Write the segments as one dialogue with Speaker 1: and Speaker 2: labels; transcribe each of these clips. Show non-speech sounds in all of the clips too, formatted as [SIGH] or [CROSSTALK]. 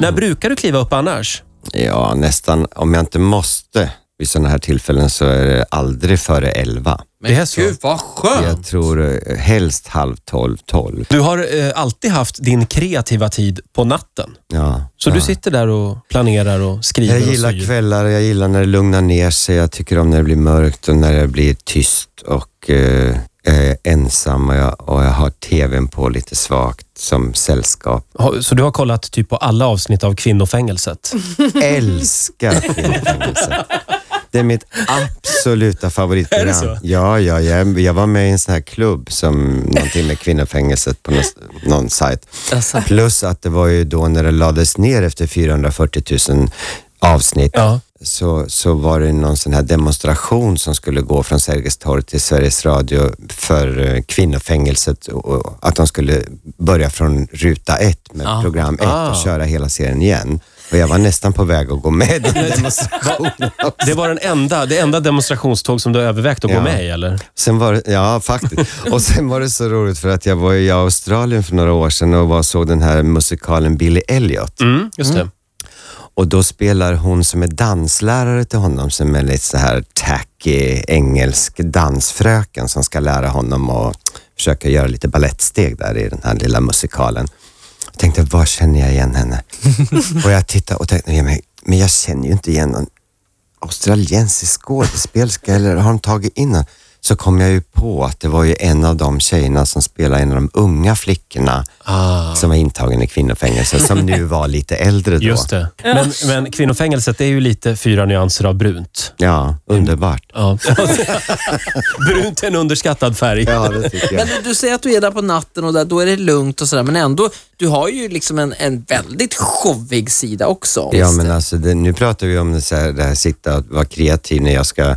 Speaker 1: När brukar du kliva upp annars?
Speaker 2: Ja, nästan. Om jag inte måste vid sådana här tillfällen så är det aldrig före elva.
Speaker 1: Det är så.
Speaker 3: gud vad
Speaker 2: Jag
Speaker 3: skönt!
Speaker 2: tror eh, helst halv tolv, tolv.
Speaker 1: Du har eh, alltid haft din kreativa tid på natten.
Speaker 2: Ja.
Speaker 1: Så
Speaker 2: ja.
Speaker 1: du sitter där och planerar och skriver
Speaker 2: Jag
Speaker 1: och
Speaker 2: gillar
Speaker 1: syr.
Speaker 2: kvällar, jag gillar när det lugnar ner sig. Jag tycker om när det blir mörkt och när det blir tyst och eh, jag är ensam och jag, och jag har tvn på lite svagt som sällskap.
Speaker 1: Har- Så du har kollat typ på alla avsnitt av [LAUGHS] Kvinnofängelset?
Speaker 2: Älskar kvinnofängelse. Det är mitt absoluta favoritprogram.
Speaker 1: Är det så?
Speaker 2: Ja, ja, jag, jag var med i en sån här klubb som någonting med kvinnofängelset på någon, någon sajt.
Speaker 3: Alltså,
Speaker 2: Plus att det var ju då när det lades ner efter 440 000 avsnitt
Speaker 1: Ja.
Speaker 2: så, så var det någon sån här demonstration som skulle gå från Sergels torg till Sveriges Radio för eh, kvinnofängelset och, och att de skulle börja från ruta ett med
Speaker 3: Ah.
Speaker 2: program ett
Speaker 1: Ah.
Speaker 2: och köra hela serien igen. Och jag var nästan på väg att gå med i
Speaker 1: [LAUGHS]
Speaker 2: den [LAUGHS] demonstrationen.
Speaker 1: Det var den enda, det enda demonstrationståg som du har övervägt att gå
Speaker 2: Ja.
Speaker 1: med i, eller?
Speaker 2: Sen var det, ja, faktiskt. Och sen var det så roligt för att jag var i Australien för några år sedan och var, såg den här musikalen Billy Elliot.
Speaker 1: Mm, just det.
Speaker 2: Och då spelar hon som är danslärare till honom som är lite så här tacky engelsk dansfröken som ska lära honom att försöka göra lite balettsteg där i den här lilla musikalen. Jag tänkte, var känner jag igen henne? och jag tittade och tänkte, "Nej, men- men jag känner ju inte igen någon australiensisk skådespelerska eller har de tagit in henne? Så kom jag ju på att det var ju en av de tjejerna som spelade en av de unga flickorna
Speaker 1: Ah,
Speaker 2: som var intagen i kvinnofängelse som nu var lite äldre då.
Speaker 1: Just det. Men, men kvinnofängelset det är ju lite fyra nyanser av brunt.
Speaker 2: Ja, underbart.
Speaker 1: Ja. [LAUGHS] brunt är en underskattad färg.
Speaker 2: Ja, det tycker
Speaker 3: men
Speaker 2: jag.
Speaker 3: du, du säger att du är där på natten och där, då är det lugnt och sådär, men ändå, du har ju liksom en, en väldigt showig sida också.
Speaker 2: [LAUGHS] Ja, men alltså det, nu pratar vi om det, så här, det här sitta och vara kreativ när jag ska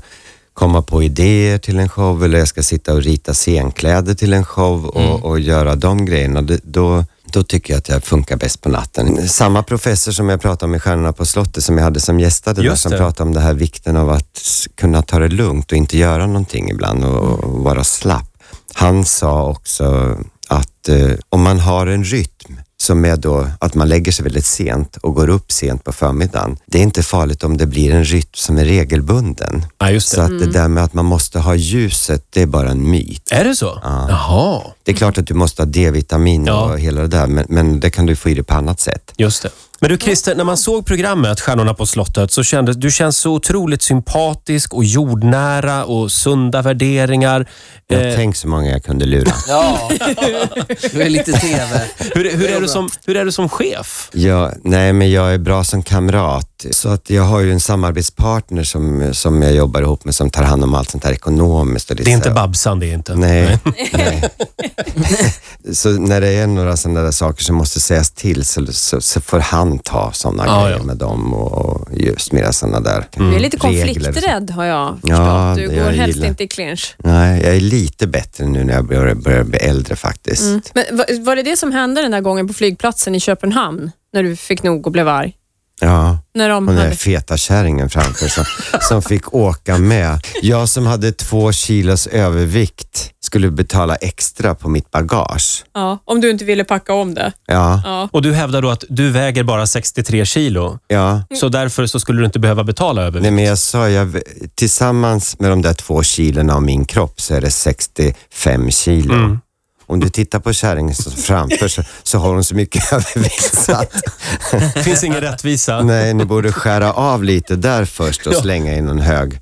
Speaker 2: komma på idéer till en show eller jag ska sitta och rita scenkläder till en show och, och göra de grejerna. Det, då, då tycker jag att jag funkar bäst på natten. Samma professor som jag pratade om i Stjärnorna på slottet som jag hade som gästade där,
Speaker 1: Just
Speaker 2: som
Speaker 1: det.
Speaker 2: pratade om det här vikten av att s- kunna ta det lugnt och inte göra någonting ibland och,
Speaker 1: Mm.
Speaker 2: och vara slapp. Han sa också att eh, om man har en rytm som är då att man lägger sig väldigt sent och går upp sent på förmiddagen. Det är inte farligt om det blir en rytm som är regelbunden.
Speaker 1: Ja, just
Speaker 2: Så
Speaker 1: det. Mm.
Speaker 2: att det där med att man måste ha ljuset, det är bara en myt.
Speaker 1: Är det så? Jaha,
Speaker 2: Det är klart att du måste ha D-vitamin
Speaker 1: Mm. Ja.
Speaker 2: och hela det där, men, men det kan du få i dig på annat sätt.
Speaker 1: just det. Men du Christer, när man såg programmet Stjärnorna på slottet så kändes du känns så otroligt sympatisk och jordnära och sunda värderingar. Eh,
Speaker 2: Jag tänk så många jag kunde lura.
Speaker 3: Ja, [LAUGHS] du är lite TV.
Speaker 1: Hur, hur, är, du som, hur är du som chef?
Speaker 2: Ja, nej, men jag är bra som kamrat. Så att jag har ju en samarbetspartner som, som jag jobbar ihop med som tar hand om allt sånt här ekonomiskt. Och lite
Speaker 1: Det är inte
Speaker 2: så här-
Speaker 1: Babsan, det är inte.
Speaker 2: Nej.
Speaker 1: [LAUGHS]
Speaker 2: nej. så när det är några sådana där saker som måste sägas till så, så, så får han ta sådana
Speaker 1: Ja,
Speaker 2: grejer
Speaker 1: ja.
Speaker 2: med dem och, och just mera sådana där
Speaker 4: Du är lite
Speaker 2: Mm, regler och så.
Speaker 4: konflikträdd har jag förstått.
Speaker 2: Ja,
Speaker 4: du
Speaker 2: det
Speaker 4: går
Speaker 2: jag
Speaker 4: helst
Speaker 2: gillar.
Speaker 4: inte i clinch.
Speaker 2: Nej, jag är lite bättre nu när jag börjar, börjar bli äldre faktiskt.
Speaker 1: Mm.
Speaker 4: Men va- var det det som hände den där gången på flygplatsen i Köpenhamn när du fick nog och blev arg?
Speaker 2: Ja.
Speaker 4: När de
Speaker 2: Hon är
Speaker 4: hade...
Speaker 2: feta kärringen framför som, som fick åka med. Jag som hade två kilos övervikt skulle betala extra på mitt bagage.
Speaker 4: Ja, om du inte ville packa om det.
Speaker 2: Ja,
Speaker 4: Ja.
Speaker 1: Och du hävdar då att du väger bara 63 kilo,
Speaker 2: ja.
Speaker 1: så därför så skulle du inte behöva betala över.
Speaker 2: Nej, men jag sa, jag, tillsammans med de där två kilorna av min kropp så är det 65 kilo. Om du tittar på kärringen som framför så, så har hon så mycket [LAUGHS] övervikt så att,
Speaker 1: Det finns ingen rättvisa. [LAUGHS]
Speaker 2: nej, ni borde skära av lite där först och slänga in en hög.